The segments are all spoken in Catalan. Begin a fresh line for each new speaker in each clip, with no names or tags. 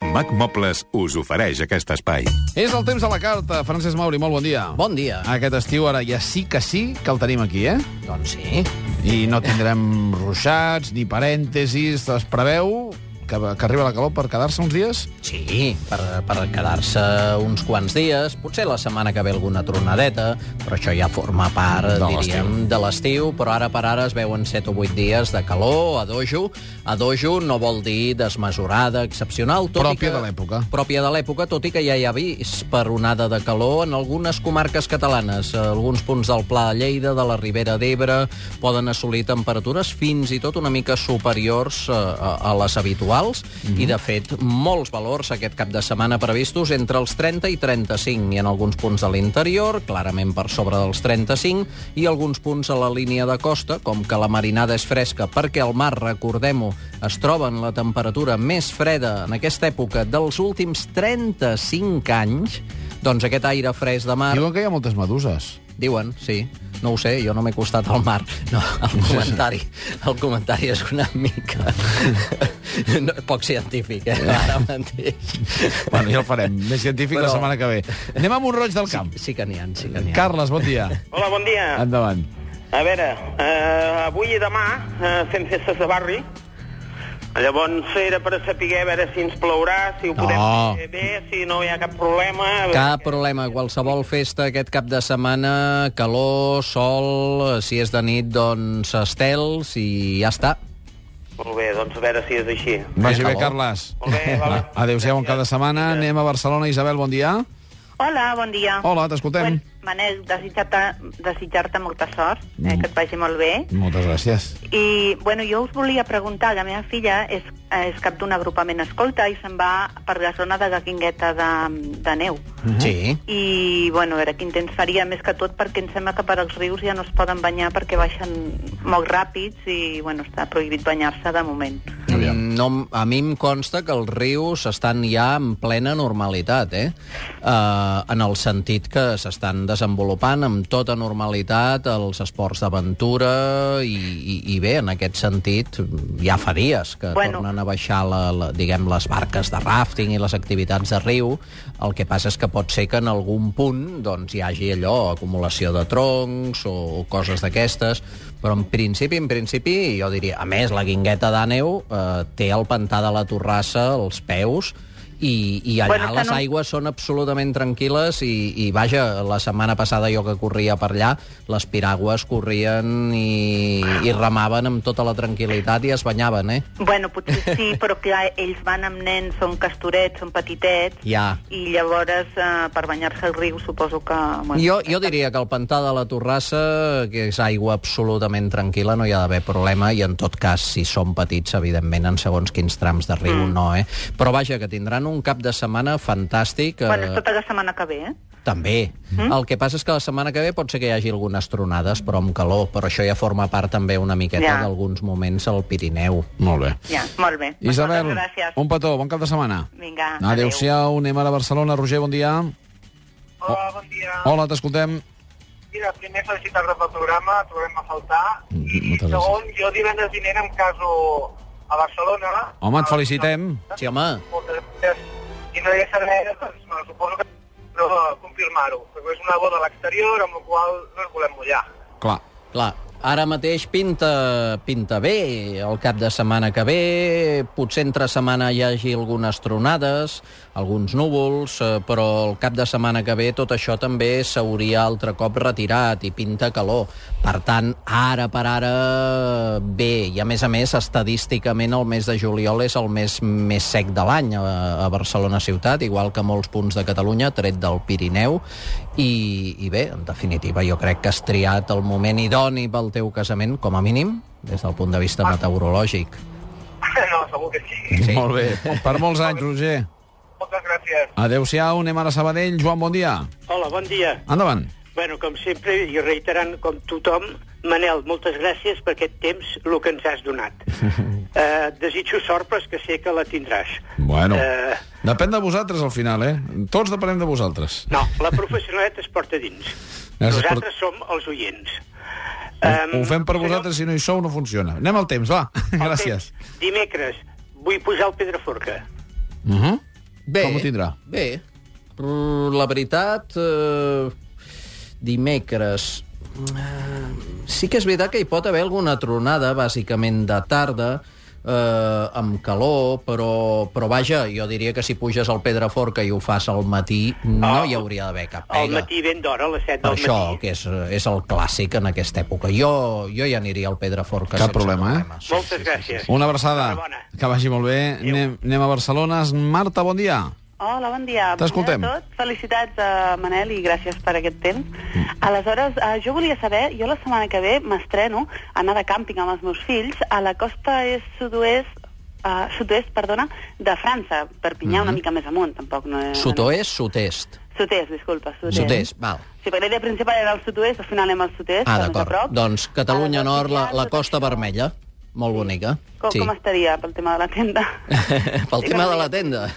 Mac Mobles us ofereix aquest espai.
És el temps a la carta. Francesc Mauri, molt bon dia.
Bon dia.
Aquest estiu ara ja sí que sí que el tenim aquí, eh?
Doncs sí.
I no tindrem ruixats ni parèntesis. Es preveu que, que arriba la calor per quedar-se uns dies?
Sí, per, per quedar-se uns quants dies, potser la setmana que ve alguna tronadeta, però això ja forma part,
De
de
l'estiu.
diríem, de l'estiu, però ara per ara es veuen 7 o 8 dies de calor a dojo. A dojo no vol dir desmesurada, excepcional, tot
Pròpia
i que...
de l'època.
Pròpia de l'època, tot i que ja hi ha vist per onada de calor en algunes comarques catalanes. A Alguns punts del Pla de Lleida, de la Ribera d'Ebre, poden assolir temperatures fins i tot una mica superiors eh, a, a les habituals. Mm -hmm. I, de fet, molts valors aquest cap de setmana previstos entre els 30 i 35. Hi ha alguns punts de l'interior, clarament per sobre dels 35, i alguns punts a la línia de costa, com que la marinada és fresca perquè el mar, recordem-ho, es troba en la temperatura més freda en aquesta època dels últims 35 anys, doncs aquest aire fresc de mar...
Diuen que hi ha moltes meduses.
Diuen, sí. No ho sé, jo no m'he costat al mar. No, el comentari, el comentari és una mica... No, poc científic, eh? Ara mateix.
Bueno, ja el farem. Més científic Però... la
Però-
setmana que ve. Anem a Montroig del Camp.
Sí que n'hi ha, sí que n'hi ha.
Carles, bon dia.
Hola, bon dia.
Endavant.
A veure, eh, avui i demà eh, fem festes de barri. Llavors era per saber a veure si ens plourà, si ho podem
No.
fer bé, si no hi ha cap problema.
Cap problema, qualsevol festa aquest cap de setmana, calor, sol, eh, si és de nit, doncs estels i ja està.
Molt bé, doncs a veure si és així.
Vagi bé,
calor.
Carles.
Molt bé, vale.
Adéu-siau en cada setmana. Anem a Barcelona. Isabel, bon dia.
Hola, bon dia.
Hola, t'escoltem.
Bueno, Manel, desitjar-te desitjar molta sort, eh,
Mm.
que et vagi molt bé.
Moltes gràcies.
I, bueno, jo us volia preguntar, la meva filla és, eh, és cap d'un agrupament escolta i se'n va per la zona de Gaquingueta de, de neu.
Sí.
I, bueno, a veure quin temps faria, més que tot perquè em sembla que per als rius ja no es poden banyar perquè baixen molt ràpids i, bueno, està prohibit banyar-se de moment.
Mm, No, em- a mi em consta que els rius estan ja en plena normalitat, eh? Uh, en el sentit que s'estan desenvolupant amb tota normalitat els esports d'aventura i, i, i bé, en aquest sentit ja fa dies que
Bueno.
tornen a baixar la, la, diguem, les barques de rafting i les activitats de riu. El que passa és que pot ser que en algun punt doncs, hi hagi allò, acumulació de troncs o, o coses d'aquestes, però en principi, en principi, jo diria... A més, la guingueta d'Àneu eh, té el pantà de la Torrassa als peus i, i allà
Bueno,
bueno,
que
les
no-
aigües són absolutament tranquil·les i, i vaja, la setmana passada jo que corria per allà, les piragües corrien i, i remaven amb tota la tranquil·litat i es banyaven, eh?
Bueno, potser sí, però clar, ells van amb nens, són castorets, són petitets,
Ja.
i llavors eh, per banyar-se al riu suposo que... Bueno,
Jo, jo diria que el pantà de la Torrassa, que és aigua absolutament tranquil·la, no hi ha d'haver problema, i en tot cas, si són petits, evidentment, en segons quins trams de riu, mm. no, eh? Però vaja, que tindran un cap de setmana fantàstic. eh,
Bueno, és tota la setmana que ve, eh?
També. Mm? El que passa és que la setmana que ve pot ser que hi hagi algunes tronades, però amb calor, però això ja forma part també una miqueta
Ja.
yeah. d'alguns moments al Pirineu.
Molt bé.
Ja, molt bé. Doncs
Isabel,
moltes gràcies.
un petó. Bon cap de setmana.
Vinga,
Adéu-siau. Anem ara a Barcelona. Roger, bon dia. Oh.
Hola, bon dia.
Hola, t'escoltem.
Mira, primer felicitar-vos pel programa, trobem a faltar.
Mm, moltes
Segon, jo divendres vinent em caso a Barcelona.
Home, et felicitem.
Sí, home,
Moltes gràcies. I no hi ha cervesa, doncs, bueno, suposo que no confirmar-ho. Perquè és una boda a l'exterior, amb la qual cosa no ens volem mullar.
Clar.
Clar, ara mateix pinta, pinta bé el cap de setmana que ve, potser entre setmana hi hagi algunes tronades, alguns núvols, eh, però el cap de setmana que ve tot això també s'hauria altre cop retirat i pinta calor. Per tant, ara per ara, bé, i a més a més, estadísticament el mes de juliol és el mes més sec de l'any a, a Barcelona ciutat, igual que molts punts de Catalunya, tret del Pirineu, i, i bé, en definitiva, jo crec que has triat el moment idoni pel teu casament, com a mínim, des del punt de vista meteorològic.
no, segur que sí.
Sí. Ah. Molt bé. Per molts anys, Roger.
Moltes gràcies.
Adéu-siau. Anem ara a Sabadell. Joan, bon dia.
Hola, bon dia.
Endavant.
Bueno, com sempre, i reiterant com tothom, Manel, moltes gràcies per aquest temps, el que ens has donat. Eh, et desitjo sort, però és que sé que la tindràs.
Bueno.
Eh,
Depèn de vosaltres, al final, eh? Tots depenem de vosaltres.
no, la professionalitat es porta dins.
Gràcies per-
Nosaltres som els oients.
Um,
Em,
Ho fem per
senyor-
vosaltres, si no hi sou no funciona. Anem al temps, va.
el
Gràcies.
temps. Dimecres, vull posar el Pedraforca.
Uh -huh. Bé. Com ho tindrà?
Bé. Mm, La veritat, eh, dimecres... Mm, Sí que és veritat que hi pot haver alguna tronada, bàsicament de tarda, eh, amb calor, però, però vaja, jo diria que si puges al Pedraforca i ho fas al matí, no
Oh.
hi hauria d'haver cap pega.
Al matí ben d'hora, a les 7
Per
del
això,
matí.
que és, és el clàssic en aquesta època. Jo, jo ja aniria al Pedraforca.
Cap
sense
problema, eh?
problemes.
Moltes gràcies.
Una abraçada.
Enhorabona.
Que vagi molt bé. Anem, anem a Barcelona. Marta, bon dia.
Hola, bon dia.
T'escoltem.
Primer de Tot, felicitats a Manel i gràcies per aquest temps.
Mm.
Aleshores, eh, jo volia saber, jo la setmana que ve m'estreno a anar de càmping amb els meus fills a la costa és sud-oest Uh, sud-est, perdona, de França, Perpinyà mm -hmm. una mica més amunt, tampoc no... és-
Mm-hmm. Sud-oest, sud-est.
Sud-est, disculpa, sud-est.
Sud-est, val.
Sí, perquè l'idea principal era el sud-oest, al final anem al sud-est,
Ah,
que més a
d'acord.
prop.
Doncs Catalunya
Aleshores,
Nord, la,
ja
la
tot
Costa
això-
Vermella. Molt bonica.
Com, sí. com estaria pel tema de la tenda?
Pel
Sí,
tema
una
de la
mica.
tenda.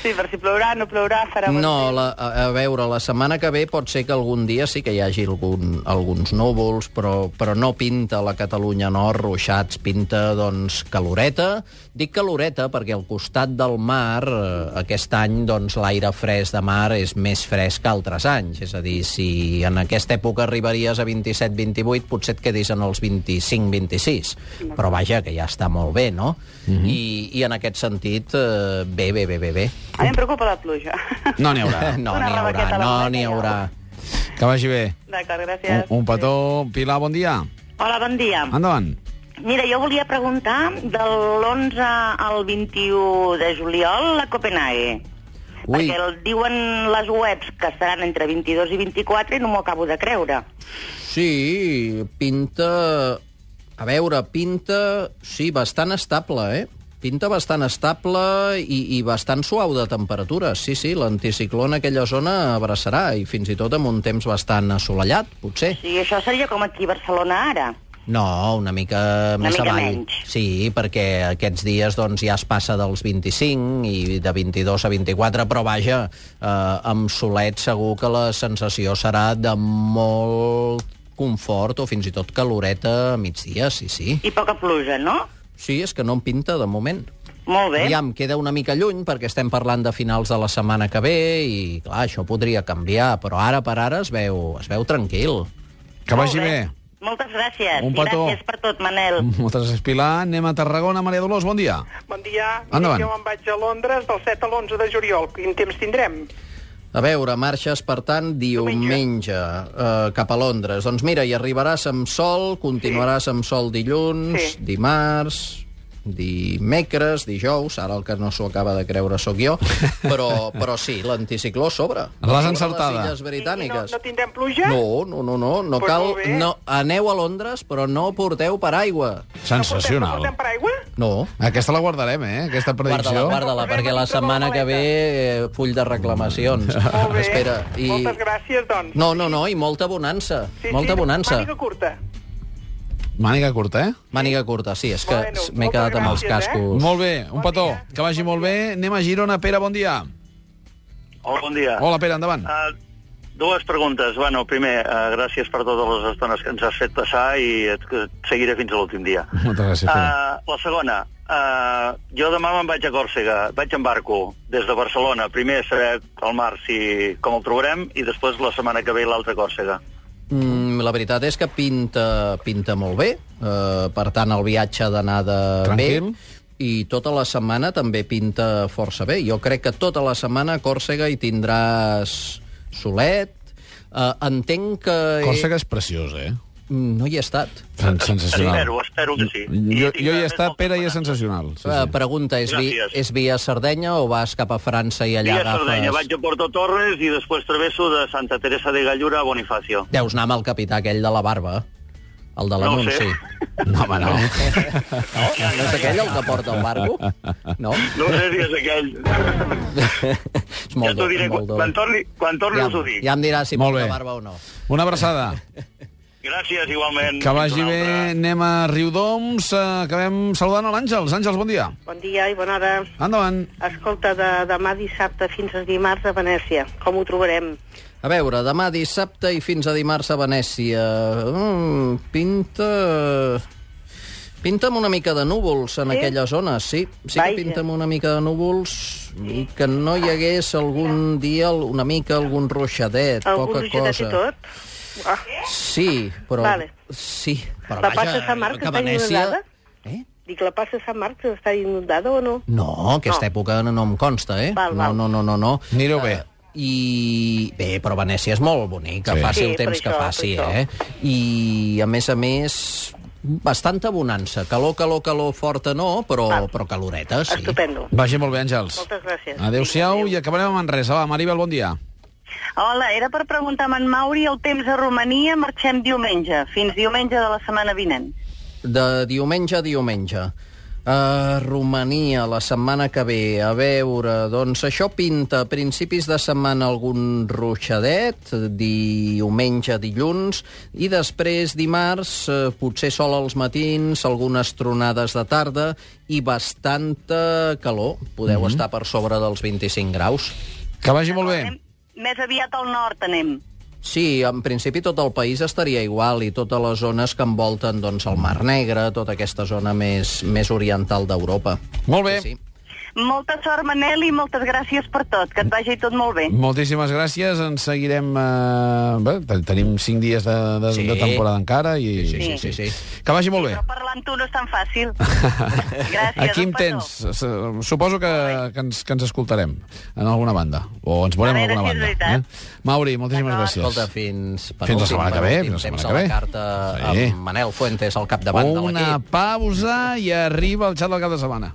Sí, per si plourà, no plourà, farà... bon
No,
temps.
la, a, a veure, la setmana que ve pot ser que algun dia sí que hi hagi algun, alguns núvols, però, però no pinta la Catalunya Nord, ruixats, pinta, doncs, caloreta. Dic caloreta perquè al costat del mar, eh, aquest any, doncs, l'aire fresc de mar és més fresc que altres anys. És a dir, si en aquesta època arribaries a 27-28, potser et quedis en els 25-26. Però vaja, que ja està molt bé, no? I, I en aquest sentit, eh, bé, bé, bé, bé, bé.
A mi em preocupa la pluja.
No n'hi haurà.
No
Una
n'hi haurà,
rebequeta a la
no
butxaca
n'hi
ja.
haurà.
Que vagi bé.
D'acord,
Un,
gràcies.
un petó. Pilar, bon dia.
Hola, bon dia.
Endavant.
Mira, jo volia preguntar de l'11 al 21 de juliol a Copenhague.
Ui.
Perquè el diuen les webs que seran entre 22 i 24 i no m'ho acabo de creure.
Sí, pinta... A veure, pinta... Sí, bastant estable, eh? Pinta bastant estable i, i bastant suau de temperatura. Sí, sí, l'anticicló en aquella zona abraçarà i fins i tot amb un temps bastant assolellat, potser.
Sí, això seria com aquí a Barcelona ara.
No, una mica
Una
més
mica
avall.
menys.
Sí, perquè aquests dies doncs, ja es passa dels 25 i de 22 a 24, però vaja, eh, amb solet segur que la sensació serà de molt confort o fins i tot caloreta a migdia, sí, sí.
I poca pluja, no?
Sí, és que no em pinta de moment.
Molt bé.
Aviam, queda una mica lluny perquè estem parlant de finals de la setmana que ve i, clar, això podria canviar, però ara per ara es veu, es veu tranquil.
Que
Molt
vagi bé.
Moltes gràcies.
Un
I
petó.
gràcies per tot, Manel.
Moltes gràcies, Pilar. Anem a Tarragona. Maria Dolors, bon dia.
Bon dia.
Endavant.
Jo me'n vaig a Londres del 7 a l'11 de juliol. Quin temps tindrem?
A veure, marxes, per tant, diumenge eh, cap a Londres. Doncs mira, hi arribaràs amb sol, continuaràs amb sol dilluns,
Sí.
dimarts, dimecres, dijous, ara el que no s'ho acaba de creure sóc jo, però, però sí, l'anticicló a sobre.
L'has
A sobre
encertada.
Les illes britàniques.
I no, no tindrem pluja?
No, no, no, no, no
Pues
cal...
molt bé.
No, aneu a Londres, però no porteu paraigua.
Sensacional.
No portem paraigua?
No.
Aquesta la guardarem, eh? Aquesta predicció.
Guarda-la, guarda-la, perquè la setmana que ve eh, full de reclamacions.
Molt bé.
Espera, i...
Moltes gràcies, doncs.
No, no, no, i molta bonança.
Sí,
molta
sí,
bonança.
Màniga curta.
Màniga curta, eh?
Màniga curta, sí, és que
Bueno,
m'he
moltes
quedat amb els
gràcies, eh?
cascos.
Molt bé, un
Bon
petó.
dia.
Que vagi molt bé. Anem a Girona. Pere, bon dia.
Hola, bon dia.
Hola, Pere, endavant.
Uh, dues preguntes. Bueno, primer, uh, gràcies per totes les estones que ens has fet passar i et, et seguiré fins a l'últim dia.
Moltes gràcies, Pere.
Uh, la segona, uh, jo demà me'n vaig a Còrsega, vaig en barco des de Barcelona. Primer saber al mar si, com el trobarem i després la setmana que ve l'altra Còrsega.
Mm, la veritat és que pinta, pinta molt bé, uh, per tant el viatge ha d'anar de
Tranquil.
bé i tota la setmana també pinta força bé. Jo crec que tota la setmana a Còrsega hi tindràs solet. Uh, entenc que...
Còrsega és preciosa, eh?
Mm, No hi he estat.
Sen- Sensacional.
Espero, espero que sí. I
Jo, jo hi he
tindràs
estat,
molta
Pere, i és
esperança.
sensacional. Sí,
Sí, sí.
sí.
Eh, Pregunta, és, vi,
Gràcies.
és via Sardenya o vas cap a França i allà
Via
agafes...
Sardenya, vaig a Porto Torres i després travesso de Santa Teresa de Gallura a Bonifacio.
Deus anar amb el capità aquell de la barba. El de
No ho
l'anunci.
sé.
No, home, no. No és aquell el que porta el barco? No?
No sé si és aquell.
És
ja
molt
t'ho
dolent,
diré,
molt
quan,
dolent.
quan torni, quan torni
ja,
us ho dic.
ja em diràs si
Molt
porta
bé.
barba o no.
Una abraçada.
Gràcies, igualment.
Que vagi
Fins una
bé.
altra.
Anem a Riudoms. eh, Acabem saludant a l'Àngels. Àngels, bon dia.
Bon dia i bona hora.
Endavant.
Escolta, de demà dissabte fins a dimarts a Venècia. Com ho trobarem?
A veure, demà dissabte i fins a dimarts a Venècia. Mm, pinta... Pinta amb una mica de núvols en sí?
Sí?
aquella zona, sí. Sí que
Vaja.
pinta amb una mica de núvols i que no hi hagués algun dia al- una mica algun ruixadet,
Algú
poca
rogetet
cosa.
i tot. Ah,
Sí, però...
Vale.
Sí, però
La
vaja,
Plaça Sant Marc
que
està
Venècia...
inundada?
Eh?
dic, la plaça de Sant Marc està inundada o no?
No, aquesta no. època no, no em consta, eh?
Val, val.
No, no, no, no. no.
Anireu
Eh,
bé.
I bé, però Venècia és molt bonica,
Sí.
sí. faci
Sí,
el temps
per
que
això,
faci,
per
eh? I a més a més bastanta bonança. Calor, calor, calor forta no, però, però caloreta, sí.
Estupendo.
Vagi molt bé, Àngels.
Moltes gràcies.
Adéu-siau i acabarem amb Manresa. Va, Maribel, bon dia.
Hola, era per preguntar a en Mauri el temps a Romania. Marxem diumenge, fins diumenge de la setmana vinent.
De diumenge a diumenge. A Romania, la setmana que ve, a veure, doncs això pinta a principis de setmana algun ruixadet, diumenge, dilluns, i després dimarts, eh, potser sol als matins, algunes tronades de tarda i bastanta calor. Podeu mm -hmm. estar per sobre dels 25 graus.
Que vagi molt bé.
Anem més aviat al nord, anem.
Sí, en principi tot el país estaria igual i totes les zones que envolten doncs, el Mar Negre, tota aquesta zona més, més oriental d'Europa.
Molt bé.
Sí, sí.
Molta sort, Manel, i moltes gràcies per tot. Que et vagi tot molt bé.
Moltíssimes gràcies, ens seguirem... Eh... Bé, ten- tenim 5 dies de, de,
Sí.
de temporada encara i...
Sí, sí, sí, sí.
Que vagi molt bé.
Però parlar amb tu no és tan fàcil. Gràcies,
Aquí
un
em
petó.
tens. S- Suposo que, que, ens, que ens escoltarem en alguna banda. O ens veurem
A
en
veure
alguna
si és
banda.
veritat.
Eh? Mauri, moltíssimes gràcies.
Escolta, fins, per
Fins la
últim,
setmana que
per
ve,
últim
fins la
temps
setmana
a
que
la
ve.
carta
Sí.
amb Manel Fuentes al capdavant de
Una
l'equip.
pausa i arriba el xat del cap de setmana.